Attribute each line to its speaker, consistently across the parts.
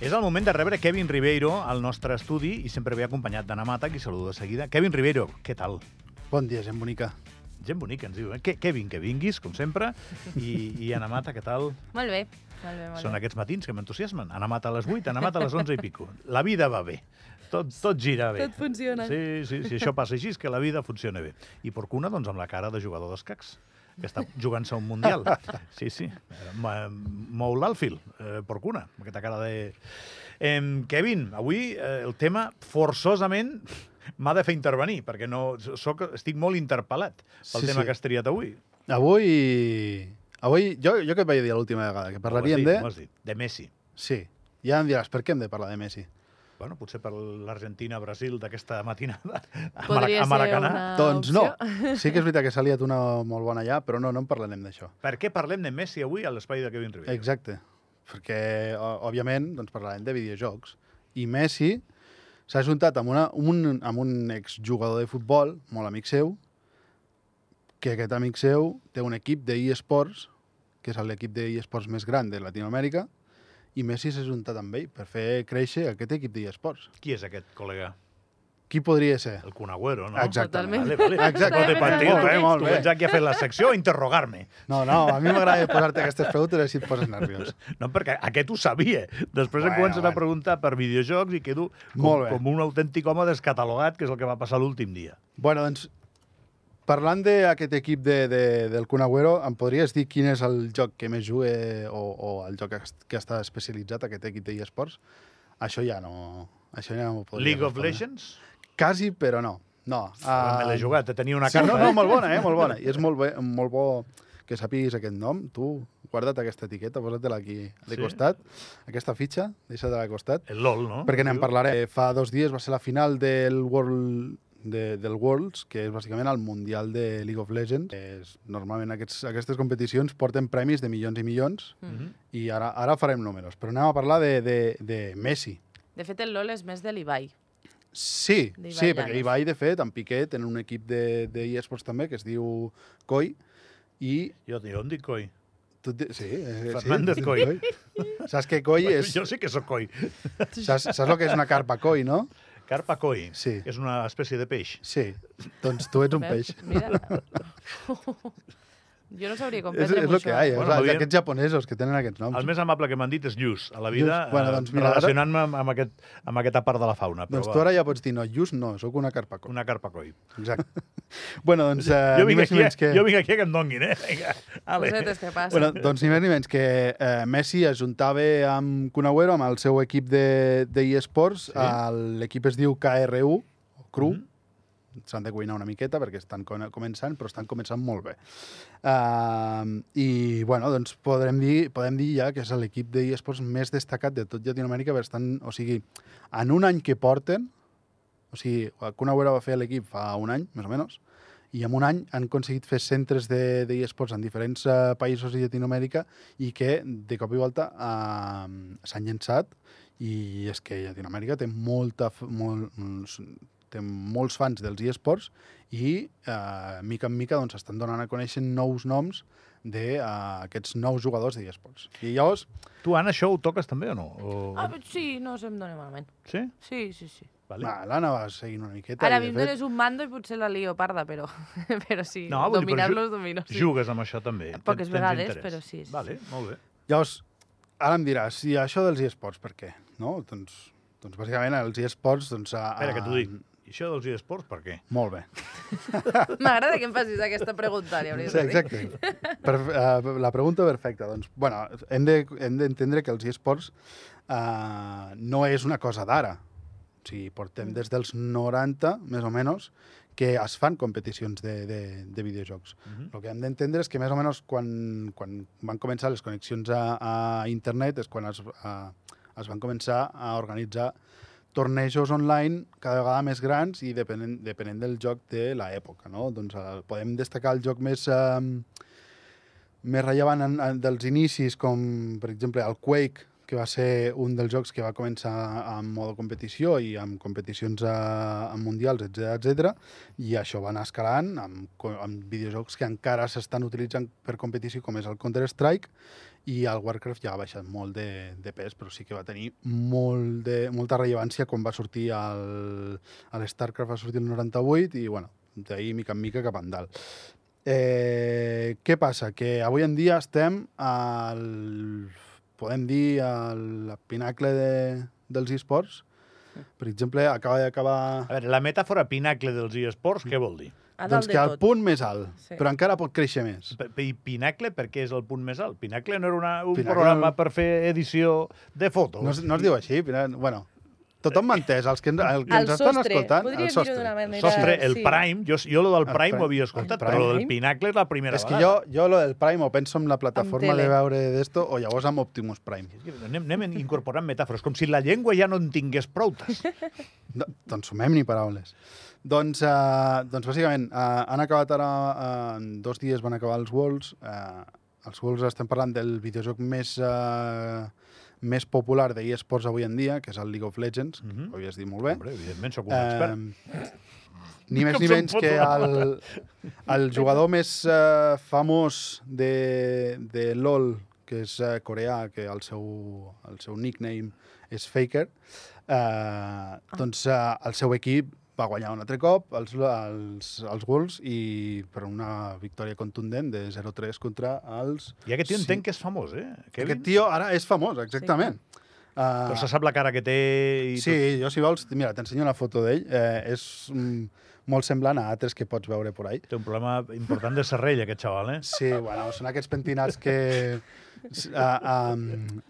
Speaker 1: És el moment de rebre Kevin Ribeiro al nostre estudi i sempre ve acompanyat d'Anna Mata, qui saludo de seguida. Kevin Ribeiro, què tal?
Speaker 2: Bon dia, gent bonica.
Speaker 1: Gent bonica, ens diu. Eh? Ke- Kevin, que vinguis, com sempre. I, i Anna Mata, què tal?
Speaker 3: Molt bé, molt bé, molt
Speaker 1: Són
Speaker 3: bé.
Speaker 1: aquests matins que m'entusiasmen. Anna Mata a les 8, Anna Mata a les 11 i pico. La vida va bé. Tot, tot gira bé.
Speaker 3: Tot funciona.
Speaker 1: Sí, sí, sí, això passa així, és que la vida funciona bé. I Porcuna, doncs, amb la cara de jugador d'escacs que està jugant-se a un Mundial. Sí, sí. Eh, ma- Mou l'alfil, eh, Porcuna, amb aquesta cara de... Eh, Kevin, avui eh, el tema forçosament m'ha de fer intervenir, perquè no, soc, estic molt interpel·lat pel
Speaker 2: Sí,
Speaker 1: tema
Speaker 2: sí.
Speaker 1: que has triat avui.
Speaker 2: Avui... Avui, jo, jo què et vaig dir l'última vegada? Que parlaríem
Speaker 1: Ho has dit, ho
Speaker 2: de...
Speaker 1: has dit, de Messi.
Speaker 2: Sí. Ja em diràs, per què hem de parlar de Messi?
Speaker 1: Bueno, potser per l'Argentina-Brasil d'aquesta matinada a, Mara
Speaker 3: Podria
Speaker 1: a Maracanà.
Speaker 3: ser una
Speaker 2: doncs no.
Speaker 3: Ah, opció.
Speaker 2: Sí que és veritat que s'ha liat una molt bona allà, però no, no en parlarem d'això.
Speaker 1: Per què parlem de Messi avui a l'espai de Kevin Ribeiro?
Speaker 2: Exacte. Perquè, o- òbviament, doncs parlarem de videojocs. I Messi s'ha juntat amb, una, amb un, amb un exjugador de futbol, molt amic seu, que aquest amic seu té un equip d'e-sports, que és l'equip d'e-sports més gran de Latinoamèrica, i Messi s'ha juntat amb ell per fer créixer aquest equip d'e-sports.
Speaker 1: Qui és aquest col·lega?
Speaker 2: Qui podria ser?
Speaker 1: El Cunagüero, no?
Speaker 2: Exactament.
Speaker 1: Vale, vale.
Speaker 2: Exacte.
Speaker 1: No te patis,
Speaker 3: Molt bé,
Speaker 1: eh?
Speaker 2: molt
Speaker 1: tu
Speaker 2: bé.
Speaker 1: vens aquí a fer la secció a interrogar-me.
Speaker 2: No, no, a mi m'agrada posar-te aquestes preguntes així et poses nerviós.
Speaker 1: No, perquè aquest ho sabia. Després bueno,
Speaker 2: Bueno,
Speaker 1: em comencen a
Speaker 2: bueno.
Speaker 1: preguntar per videojocs i quedo com,
Speaker 2: Molt bé.
Speaker 1: com un autèntic home descatalogat, que és el que va passar l'últim dia.
Speaker 2: Bueno, doncs, parlant d'aquest equip de, de, del Kun Agüero, em podries dir quin és el joc que més jugue o, o el joc que, es- que està especialitzat aquest equip d'eSports? Això ja no... Això ja no ho podria
Speaker 1: League of
Speaker 2: respondre.
Speaker 1: Legends?
Speaker 2: Quasi, però no. No.
Speaker 1: Ah, me l'he jugat, tenia una
Speaker 2: Sí,
Speaker 1: carta.
Speaker 2: no, no,
Speaker 1: eh?
Speaker 2: molt bona, eh? Molt bona. I és molt, bé, molt bo que sàpiguis aquest nom. Tu, guarda't aquesta etiqueta, posa-te-la aquí de
Speaker 1: Sí.
Speaker 2: sí. costat. Aquesta fitxa, deixa-te-la al costat.
Speaker 1: El LOL, no?
Speaker 2: Perquè n'en
Speaker 1: Diu?
Speaker 2: parlaré. Fa dos dies va ser la final del World de, del Worlds, que és bàsicament el Mundial de League of Legends. És, normalment aquests, aquestes competicions porten premis de milions i milions
Speaker 3: Mm.
Speaker 1: Mhm.
Speaker 2: i ara, ara farem números. Però anem a parlar de, de, de Messi.
Speaker 3: De fet, el LOL és més de l'Ibai.
Speaker 2: Sí,
Speaker 3: D'Ibai
Speaker 2: sí, perquè
Speaker 3: Llanos.
Speaker 2: Ibai, de fet, en Piqué tenen un equip de, de eSports també que es diu COI i
Speaker 1: Jo, jo em dic coi.
Speaker 2: tu, et di- sí, eh,
Speaker 1: Fernández
Speaker 2: sí,
Speaker 1: Coy.
Speaker 2: Coy. Saps que COI és...
Speaker 1: Jo sí que sóc coi.
Speaker 2: Saps, saps el que és una carpa COI, no?
Speaker 1: Carpa coi.
Speaker 2: Sí.
Speaker 1: És una espècie de peix.
Speaker 2: Sí. Doncs tu ets un
Speaker 3: Veus?
Speaker 2: peix.
Speaker 3: Mira. jo no sabria com
Speaker 2: És,
Speaker 3: prendre-m'ho,
Speaker 2: és el que
Speaker 3: això.
Speaker 2: hi ha,
Speaker 1: Bueno,
Speaker 2: bueno,
Speaker 1: m'havien-
Speaker 2: aquests japonesos que tenen aquests noms.
Speaker 1: El més amable que m'han dit és Lluç, a la vida,
Speaker 2: Lluç. Doncs Bueno, doncs
Speaker 1: eh,
Speaker 2: mira, ara-
Speaker 1: relacionant-me amb, amb, aquest, amb aquesta part de la fauna. Però
Speaker 2: Doncs
Speaker 1: va,
Speaker 2: tu ara ja pots dir, no, just no, sóc una carpacó.
Speaker 1: una carpa coi.
Speaker 2: Exacte. bueno, doncs, eh,
Speaker 1: jo,
Speaker 2: ni
Speaker 1: vinc
Speaker 2: més
Speaker 1: aquí,
Speaker 2: ni menys que...
Speaker 1: que... jo vinc aquí a que em donguin, eh? Vinga, ale.
Speaker 3: Cosetes que passen.
Speaker 2: Bueno, doncs ni més ni menys que eh, Messi es juntava amb Kun Agüero, amb el seu equip de, de eSports.
Speaker 1: Sí.
Speaker 2: Sí. L'equip es diu KRU, o CRU. S'han de cuinar una miqueta perquè estan con- començant, però estan començant molt bé. Uh, I, bueno, doncs podrem dir, podem dir ja que és l'equip de eSports més destacat de tot Llatinoamèrica, perquè estan, o sigui, en un any que porten, o sigui, Kun Agüero va fer l'equip fa un any, més o menys, i en un any han aconseguit fer centres de- d'eSports de, en diferents eh, països de Llatinoamèrica i que, de cop i volta, eh, s'han llançat i és que Llatinoamèrica té molta... f- Molt, molts- té molts fans dels eSports i, eh, mica en mica, doncs, estan donant a conèixer nous noms d'aquests nous jugadors d'eSports. I llavors,
Speaker 1: Tu, Anna, això ho toques també o no? O...
Speaker 3: Ah, però sí, no se'm dóna malament.
Speaker 1: Sí?
Speaker 3: Sí, sí, sí.
Speaker 1: Vale.
Speaker 2: va, l'Anna va seguint una miqueta.
Speaker 3: Ara, a
Speaker 2: i, de
Speaker 3: mi em
Speaker 2: fet,
Speaker 3: dones un mando i potser la lio parda, però, però sí.
Speaker 1: No, vull dir, però
Speaker 3: Dominar-los,
Speaker 1: ju-
Speaker 3: domino. Sí.
Speaker 1: Jugues amb això també. Tens-
Speaker 3: Poques
Speaker 1: tens
Speaker 3: vegades,
Speaker 1: interès.
Speaker 3: però sí, sí,
Speaker 1: Vale, molt bé.
Speaker 2: Llavors, ara em diràs, i això dels esports, per què? No? Doncs, doncs bàsicament, els esports... Doncs, a,
Speaker 1: Espera, que t'ho dic. I això dels esports, per què?
Speaker 2: Molt bé.
Speaker 3: M'agrada que em facis aquesta pregunta, li hauries
Speaker 2: Sí,
Speaker 3: de dir.
Speaker 2: exacte. Per, uh, la pregunta perfecta. Doncs, bueno, hem de- hem d'entendre de, que els esports uh, no és una cosa d'ara. O sigui,
Speaker 3: Mm.
Speaker 2: portem des dels 90, més o menys, que es fan competicions de, de, de videojocs.
Speaker 1: Mhm.
Speaker 2: El que hem d'entendre és que més o menys quan, quan van començar les connexions a, a internet és quan es, a, es van començar a organitzar tornejos online cada vegada més grans i depenent, depenent del joc de l'època. No? Doncs, eh, podem destacar el joc més, eh, més rellevant en, en, dels inicis, com per exemple el Quake, que va ser un dels jocs que va començar en modo competició i amb competicions a, a mundials, etc etc. i això va anar escalant amb, co- amb videojocs que encara s'estan utilitzant per competició, com és el Counter-Strike, i el Warcraft ja ha baixat molt de, de pes, però sí que va tenir molt de, molta rellevància quan va sortir el, el StarCraft, va sortir el 98, i bueno, d'ahir mica en mica cap endalt. Eh, què passa? Que avui en dia estem al, podem dir, al pinacle de, dels esports. Per exemple, acaba d'acabar...
Speaker 1: A veure, la metàfora pinacle dels esports, què vol dir?
Speaker 3: A dalt
Speaker 2: Doncs
Speaker 3: de
Speaker 2: que al
Speaker 3: tot.
Speaker 2: punt més alt,
Speaker 3: Sí.
Speaker 2: però encara pot créixer més.
Speaker 1: P- I Pinacle, per què és el punt més alt? Pinacle no era una, un
Speaker 2: Pinacle
Speaker 1: programa
Speaker 2: no-
Speaker 1: per fer edició de fotos?
Speaker 2: No es, no es diu així, però, bueno, tothom m'ha entès, els que, ens- el que
Speaker 3: El
Speaker 2: ens estan
Speaker 3: sostre.
Speaker 2: escoltant,
Speaker 3: Podríem
Speaker 2: el
Speaker 3: dir-ho
Speaker 2: sostre.
Speaker 3: d'una manera.
Speaker 1: Sostre,
Speaker 3: Era-
Speaker 1: el
Speaker 3: sí.
Speaker 1: Prime, jo, jo lo del
Speaker 2: El
Speaker 1: Prime ho havia
Speaker 2: el
Speaker 1: escoltat,
Speaker 2: Prime.
Speaker 1: però lo del
Speaker 3: Prime?
Speaker 1: Pinacle és la primera
Speaker 2: És que jo,
Speaker 1: vegada.
Speaker 2: jo lo del Prime ho penso amb la plataforma
Speaker 3: tele.
Speaker 2: de veure d'esto o llavors amb Optimus Prime.
Speaker 1: És que Anem, anem incorporant metàfores, com si la llengua ja no en tingués proutes.
Speaker 2: Eh? No, doncs sumem ni paraules. Doncs, uh, doncs bàsicament, uh, han acabat ara, uh, en dos dies van acabar els Worlds. Uh, els Worlds estem parlant del videojoc més, uh, més popular d'eSports avui en dia, que és el League of Legends, mm
Speaker 1: Mhm.
Speaker 2: -hmm. ho havies dit molt bé.
Speaker 1: Hombre, evidentment, sóc un expert.
Speaker 2: Eh, ni més
Speaker 1: Com
Speaker 2: ni
Speaker 1: se'n
Speaker 2: menys
Speaker 1: fot
Speaker 2: que
Speaker 1: una
Speaker 2: el, el jugador més eh, famós de, de LOL, que és eh, coreà, que el seu, el seu nickname és Faker, eh, doncs eh, el seu equip va guanyar un altre cop els, els, els Wolves i per una victòria contundent de 0-3 contra els...
Speaker 1: I aquest tio
Speaker 2: Sí.
Speaker 1: entenc que és famós, eh? Kevin?
Speaker 2: Aquest tio ara és famós, exactament. Eh,
Speaker 1: Però se sap la cara que té i
Speaker 2: Sí, jo si vols, mira, t'ensenyo una foto d'ell. Eh, és mm, molt semblant a altres que pots veure por ahí.
Speaker 1: tot. Té un problema important de serrell, aquest xaval, eh?
Speaker 2: Sí, bueno, són aquests pentinats que... s- A, a,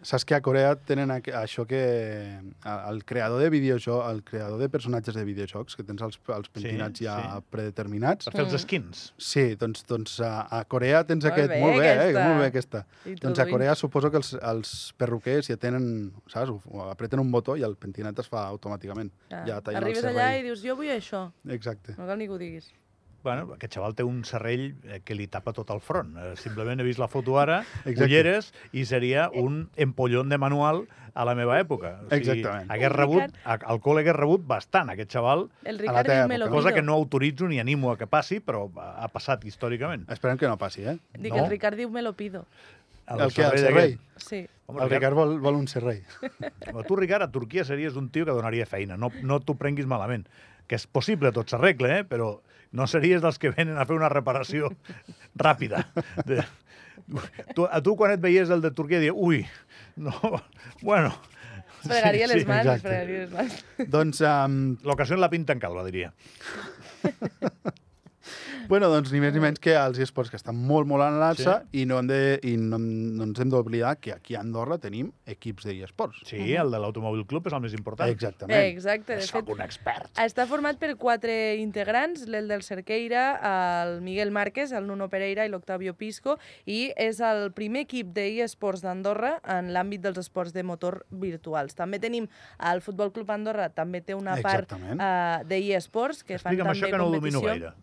Speaker 2: saps que a Corea tenen aqu- això que... a- El creador de videojocs, el creador de personatges de videojocs, que tens els, els pentinats ja
Speaker 1: sí.
Speaker 2: predeterminats.
Speaker 1: Per
Speaker 3: Mm.
Speaker 1: fer els skins.
Speaker 2: Sí, doncs, doncs a, a Corea tens
Speaker 3: Molt
Speaker 2: aquest...
Speaker 3: bé,
Speaker 2: molt bé, eh?
Speaker 3: aquesta.
Speaker 2: Molt bé aquesta. Doncs a
Speaker 3: Introduint.
Speaker 2: Corea suposo que els, els perruquers ja tenen, saps, ho- ho apreten un botó i el pentinat es fa automàticament.
Speaker 3: Ah,
Speaker 2: Ja tallen
Speaker 3: Arribes
Speaker 2: el
Speaker 3: allà
Speaker 2: servei.
Speaker 3: i dius, jo vull això.
Speaker 2: Exacte.
Speaker 3: No cal ni que ho diguis.
Speaker 1: Bueno, aquest xaval té un serrell eh, que li tapa tot el front. Eh, Simplement he vist la foto ara,
Speaker 2: Exacte.
Speaker 1: ulleres, i seria un empollón de manual a la meva època. O sigui,
Speaker 2: Exactament.
Speaker 1: hagués rebut, a- al col·le hagués rebut bastant aquest xaval,
Speaker 3: El
Speaker 2: A la
Speaker 3: Ricard
Speaker 2: teva
Speaker 3: diu, me lo
Speaker 2: època.
Speaker 1: cosa
Speaker 3: pido.
Speaker 1: que no autoritzo ni animo a que passi, però ha ha passat històricament.
Speaker 2: Esperem que no passi, eh?
Speaker 3: Dic,
Speaker 1: no.
Speaker 3: el Ricard diu, me lo pido.
Speaker 1: El,
Speaker 2: el que, el
Speaker 1: d'aquest.
Speaker 2: servei.
Speaker 3: Sí.
Speaker 1: Home,
Speaker 2: El Ricard vol, vol un servei.
Speaker 1: Però tu, Ricard, a Turquia series un tio que donaria feina. No, no t'ho prenguis malament. Que és possible, tot s'arregla, eh? però no series dels que venen a fer una reparació ràpida. De... Tu, a tu, quan et veies el de Turquia, diries, ui, no, bueno...
Speaker 3: Fregaria les mans,
Speaker 2: exacte.
Speaker 3: fregaria les mans.
Speaker 2: doncs, um,
Speaker 1: L'ocasió en la pinta en calva, diria.
Speaker 2: bueno, doncs ni més ni menys que els esports que estan molt, molt en l'alça i, no, hem de, i no, no ens hem d'oblidar que aquí a Andorra tenim equips d'esports.
Speaker 1: Sí, el de l'Automòbil Club és el més important.
Speaker 2: Exactament.
Speaker 3: Eh, exacte, de
Speaker 1: Soc
Speaker 3: fet,
Speaker 1: un expert.
Speaker 3: està format per quatre integrants, l'El del Cerqueira, el Miguel Márquez, el Nuno Pereira i l'Octavio Pisco, i és el primer equip d'eSports d'Andorra en l'àmbit dels esports de motor virtuals. També tenim el Futbol Club Andorra, també té una part
Speaker 2: Exactament.
Speaker 3: uh, d'eSports, que fan
Speaker 1: Explica'm
Speaker 3: també
Speaker 1: això que no ho domino
Speaker 3: competició.
Speaker 1: gaire.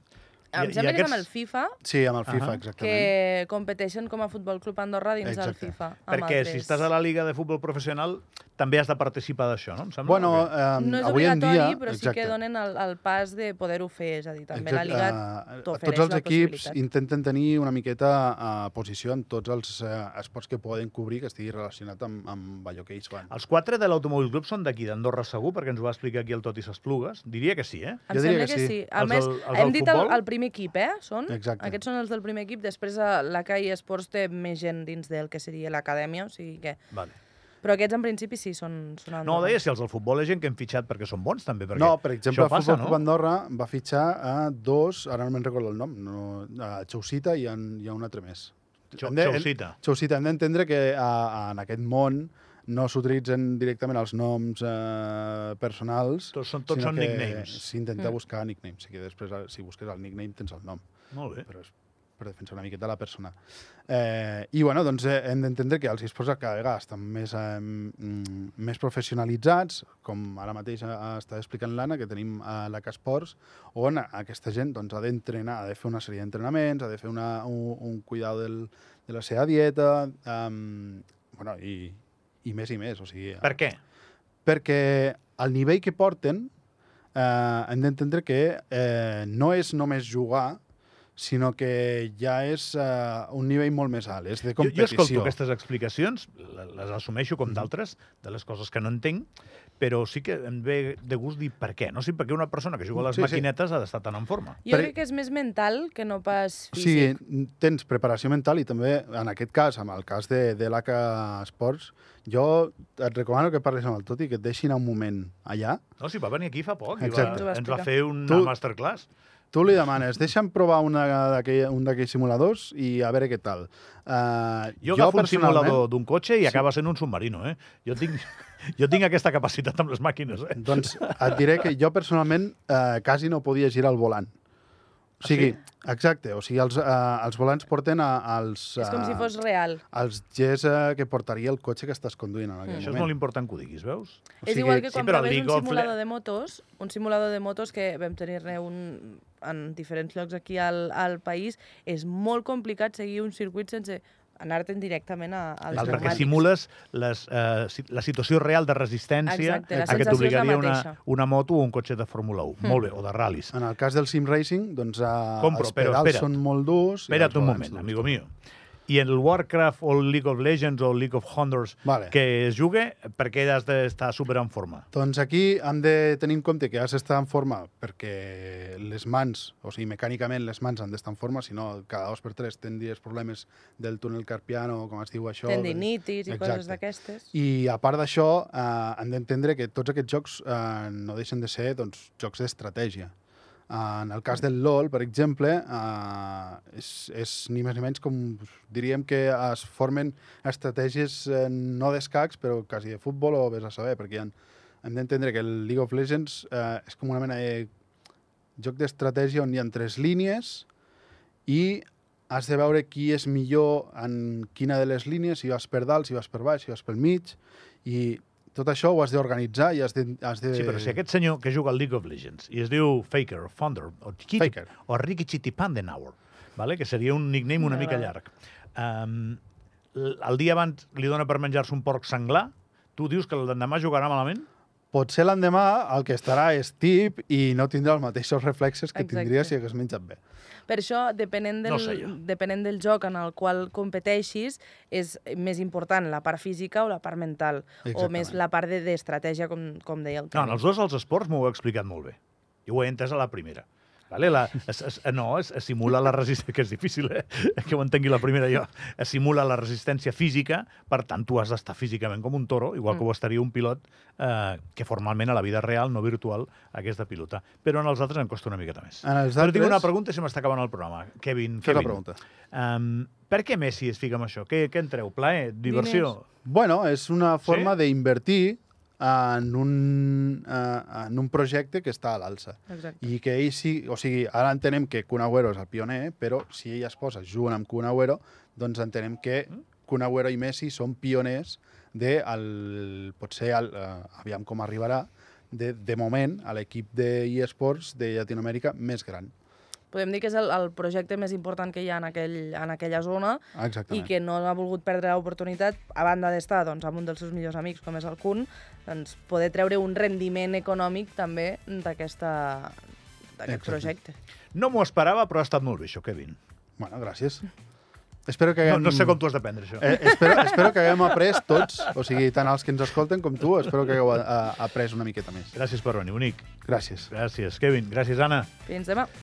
Speaker 3: Em sembla que és amb el FIFA,
Speaker 2: Sí, amb el FIFA,
Speaker 1: Ahà.
Speaker 2: exactament.
Speaker 3: que competeixen com a Futbol Club Andorra dins del
Speaker 2: Exacte.
Speaker 3: FIFA. amb
Speaker 1: Perquè
Speaker 3: altres.
Speaker 1: si estàs a la Lliga de Futbol Professional també has de participar d'això, no? Em sembla
Speaker 2: Bueno,
Speaker 1: o què?
Speaker 2: um,
Speaker 3: No és
Speaker 2: avui en
Speaker 3: obligatori,
Speaker 2: dia...
Speaker 3: però sí que donen el, el pas de poder-ho fer, és a dir, també la
Speaker 2: Exacte,
Speaker 3: Lliga
Speaker 2: eh,
Speaker 3: t'ofereix
Speaker 2: Tots els
Speaker 3: la
Speaker 2: equips
Speaker 3: possibilitat.
Speaker 2: intenten tenir una miqueta a posició en tots els eh, esports que poden cobrir que estigui relacionat amb, amb allò que ells fan.
Speaker 1: Els quatre de l'Automòbil Club són d'aquí, d'Andorra segur, perquè ens ho va explicar aquí el Toti Esplugues. Diria que sí, eh?
Speaker 3: Em
Speaker 2: Jo diria
Speaker 3: sembla
Speaker 2: que
Speaker 3: que,
Speaker 2: sí.
Speaker 3: sí. A
Speaker 1: Els
Speaker 3: més,
Speaker 1: del- els
Speaker 3: hem
Speaker 1: del
Speaker 3: dit el,
Speaker 1: futbol?
Speaker 3: el primer equip, eh? Són?
Speaker 2: Exacte.
Speaker 3: Aquests són els del primer equip. Després eh, la CAI Esports té més gent dins del que seria l'acadèmia, o sigui que...
Speaker 1: Vale.
Speaker 3: Però aquests, en principi, sí, són... són
Speaker 1: No,
Speaker 3: Andorra.
Speaker 1: deia si els del futbol és gent que hem fitxat perquè són bons, també. Perquè
Speaker 2: No, per exemple,
Speaker 1: això
Speaker 2: el
Speaker 1: passa,
Speaker 2: Futbol Club
Speaker 1: no?
Speaker 2: Andorra va fitxar a dos, ara no me'n recordo el nom, no, a Xausita i a, i a un altre més.
Speaker 1: Xau-
Speaker 2: Hem de- hem-
Speaker 1: Xausita.
Speaker 2: Xausita, hem d'entendre que a, a, en aquest món no s'utilitzen directament els noms eh, personals.
Speaker 1: Tots són- tots
Speaker 2: sinó
Speaker 1: són
Speaker 2: que
Speaker 1: nicknames.
Speaker 2: S'intenta buscar nicknames, i que després, eh, si busques el nickname, tens el nom
Speaker 1: Molt bé.
Speaker 2: però és per defensar una miqueta la persona. Eh, I, bueno, doncs eh, hem d'entendre que els esports cada vegada estan més, eh, mm, més professionalitzats, com ara mateix eh, està explicant l'Anna, que tenim a la Casports, on a- aquesta gent doncs, ha d'entrenar, ha de fer una sèrie d'entrenaments, ha de fer una, un, un cuidado del, de la seva dieta, um, bueno, i, i més i més. O sigui,
Speaker 1: Per què?
Speaker 2: perquè el nivell que porten eh, hem d'entendre que eh, no és només jugar, sinó que ja és uh, un nivell molt més alt, és
Speaker 1: Jo,
Speaker 2: de
Speaker 1: jo
Speaker 2: competició.
Speaker 1: escolto aquestes explicacions, le- les assumeixo
Speaker 2: Mm-hmm.
Speaker 1: com d'altres, de les coses que no entenc, però sí que em ve de gust dir per què. No sé per què una persona que juga a les
Speaker 2: Sí,
Speaker 1: sí,
Speaker 2: sí.
Speaker 1: maquinetes ha d'estar tan en forma.
Speaker 3: Jo
Speaker 2: Per-
Speaker 3: crec que és més mental que no pas
Speaker 2: O
Speaker 3: físic.
Speaker 2: sigui, tens preparació mental i també, en aquest cas, amb el cas de, de l'AK Esports, jo et recomano que parlis amb el Toti, que et deixin un moment allà.
Speaker 1: No, si va venir aquí fa poc, i va,
Speaker 2: Exacte.
Speaker 3: Ens ho va
Speaker 1: ens va
Speaker 3: explicar.
Speaker 1: fer una
Speaker 2: Tu-
Speaker 1: tu... masterclass.
Speaker 2: Tu li demanes, deixa'm provar una d'aquell- un d'aquells simuladors i a veure què tal. Uh,
Speaker 1: Jo, jo agafo un simulador d'un cotxe i sí. acaba sent un submarino, eh? Jo tinc, jo tinc aquesta capacitat amb les màquines, eh?
Speaker 2: Doncs et diré que jo personalment eh, quasi no podia girar el volant. O sigui,
Speaker 3: Ah,
Speaker 2: exacte, o sigui, els, eh, els volants porten a, als...
Speaker 3: És com si
Speaker 2: eh,
Speaker 3: fos real.
Speaker 2: els gest eh, que portaria el cotxe que estàs conduint en aquell
Speaker 1: Això és molt
Speaker 2: moment.
Speaker 1: important que ho diguis, veus?
Speaker 2: O
Speaker 3: Mm. és
Speaker 2: sigui,
Speaker 3: igual que quan
Speaker 1: però
Speaker 3: sí,
Speaker 1: li
Speaker 3: proves un
Speaker 1: gofle-
Speaker 3: simulador de motos, un simulador de motos que vam tenir-ne un en diferents llocs aquí al, al país, és molt complicat seguir un circuit sense anar-te'n directament a, als
Speaker 1: Val,
Speaker 2: Exacte.
Speaker 1: perquè
Speaker 3: pneumàtics.
Speaker 1: simules les, eh, si- la situació real de resistència
Speaker 3: Exacte, la
Speaker 1: a què
Speaker 3: sensació és la
Speaker 1: t'obligaria
Speaker 3: mateixa. Hm. Ah,
Speaker 1: una, una moto o un cotxe de Fórmula 1. Molt bé, o de ral·lis.
Speaker 2: En el cas del sim racing, doncs eh,
Speaker 1: Compro,
Speaker 2: els
Speaker 1: però
Speaker 2: pedals
Speaker 1: espera't.
Speaker 2: són molt durs. i
Speaker 3: doncs
Speaker 1: Espera't
Speaker 2: els
Speaker 1: un
Speaker 2: volants
Speaker 1: moment,
Speaker 2: durs.
Speaker 1: amigo mío. I en el Warcraft o el League of Legends o el League of Honors
Speaker 2: Vale.
Speaker 1: que es jugue, per què has d'estar super en forma?
Speaker 2: Doncs aquí hem de tenir en compte que has d'estar en forma perquè les mans, o sigui, mecànicament les mans han d'estar en forma, si no, cada dos per tres tindries problemes del túnel carpiano, com es diu això.
Speaker 3: Tendinitis i coses
Speaker 2: Exacte.
Speaker 3: d'aquestes.
Speaker 2: I a part d'això, eh, hem d'entendre que tots aquests jocs eh, no deixen de ser doncs, jocs d'estratègia. Eh, en el cas del LOL, per exemple, eh, és, és ni més ni menys com diríem que es formen estratègies eh, no d'escacs, però quasi de futbol o vés a saber, perquè hi ha, hem d'entendre que el League of Legends eh, és com una mena de joc d'estratègia on hi ha tres línies i has de veure qui és millor en quina de les línies, si vas per dalt, si vas per baix, si vas pel mig, i tot això ho has d'organitzar i has de... Has de...
Speaker 1: Sí, però si aquest senyor que juga al League of Legends i es diu Faker, o Thunder, o, Chiquit,
Speaker 2: Faker.
Speaker 1: o Ricky Chitipandenauer, vale? que seria un nickname una mica
Speaker 3: M'agrada.
Speaker 1: llarg, um, el dia abans li dona per menjar-se un porc senglar, tu dius que l'endemà jugarà malament?
Speaker 2: Potser l'endemà el que estarà és tip i no tindrà els mateixos reflexes que
Speaker 3: Exacte.
Speaker 2: tindria si hagués menjat bé.
Speaker 3: Per això, depenent del,
Speaker 1: No sé jo.
Speaker 3: depenent del joc en el qual competeixis, és més important la part física o la part mental, o
Speaker 2: Exactament.
Speaker 3: més la part de- d'estratègia, de, com, com deia el
Speaker 1: No,
Speaker 3: Toni.
Speaker 1: en els dos els esports m'ho heu explicat molt bé. Jo ho he entès a la primera. Vale? La, es, es, no, es, es simula la resistència, que és difícil eh? que ho entengui la primera jo. Es simula la resistència física, per tant, tu has d'estar físicament com un toro, igual
Speaker 2: Mm.
Speaker 1: que ho estaria un pilot eh, que formalment a la vida real, no virtual, hagués de pilotar. Però en els altres em costa una miqueta més.
Speaker 2: En els
Speaker 1: Però tinc
Speaker 2: altres-
Speaker 1: una pregunta i se m'està acabant el programa. Kevin,
Speaker 2: Fes la
Speaker 1: Kevin.
Speaker 2: pregunta.
Speaker 1: Um, per què Messi es fica en això? Què, què en treu? Plaer? Diversió?
Speaker 3: Diners.
Speaker 2: Bueno, és una forma
Speaker 1: Sí?
Speaker 2: d'invertir en un, eh, en un projecte que està a l'alça.
Speaker 3: Exacte.
Speaker 2: I que ell sí, o sigui, ara entenem que Kun Agüero és el pioner, eh, però si ell es posa junt amb Kun Agüero, doncs entenem que
Speaker 1: Mm.
Speaker 2: Kun Agüero i Messi són pioners de, el, potser, el, eh, aviam com arribarà, de, de moment, a l'equip d'eSports de Llatinoamèrica més gran.
Speaker 3: Podem dir que és el, el projecte més important que hi ha en, aquell, en aquella zona i
Speaker 2: Exactament.
Speaker 3: que no ha volgut perdre l'oportunitat, a banda d'estar doncs, amb un dels seus millors amics, com és el Kun, doncs, poder treure un rendiment econòmic també d'aquesta- d'aquest
Speaker 2: Exacte.
Speaker 3: projecte.
Speaker 1: No m'ho esperava, però ha estat molt bé això, Kevin.
Speaker 2: Bueno, gràcies. Espero que
Speaker 1: No,
Speaker 2: haguem...
Speaker 1: no sé com t'ho has d'aprendre, això.
Speaker 2: Eh, espero, espero que haguem après tots, o sigui, tant els que ens escolten com tu, espero que hagueu eh, après una miqueta més.
Speaker 1: Gràcies per venir, bonic.
Speaker 2: Gràcies.
Speaker 1: Gràcies, Kevin. Gràcies, Anna.
Speaker 3: Fins demà.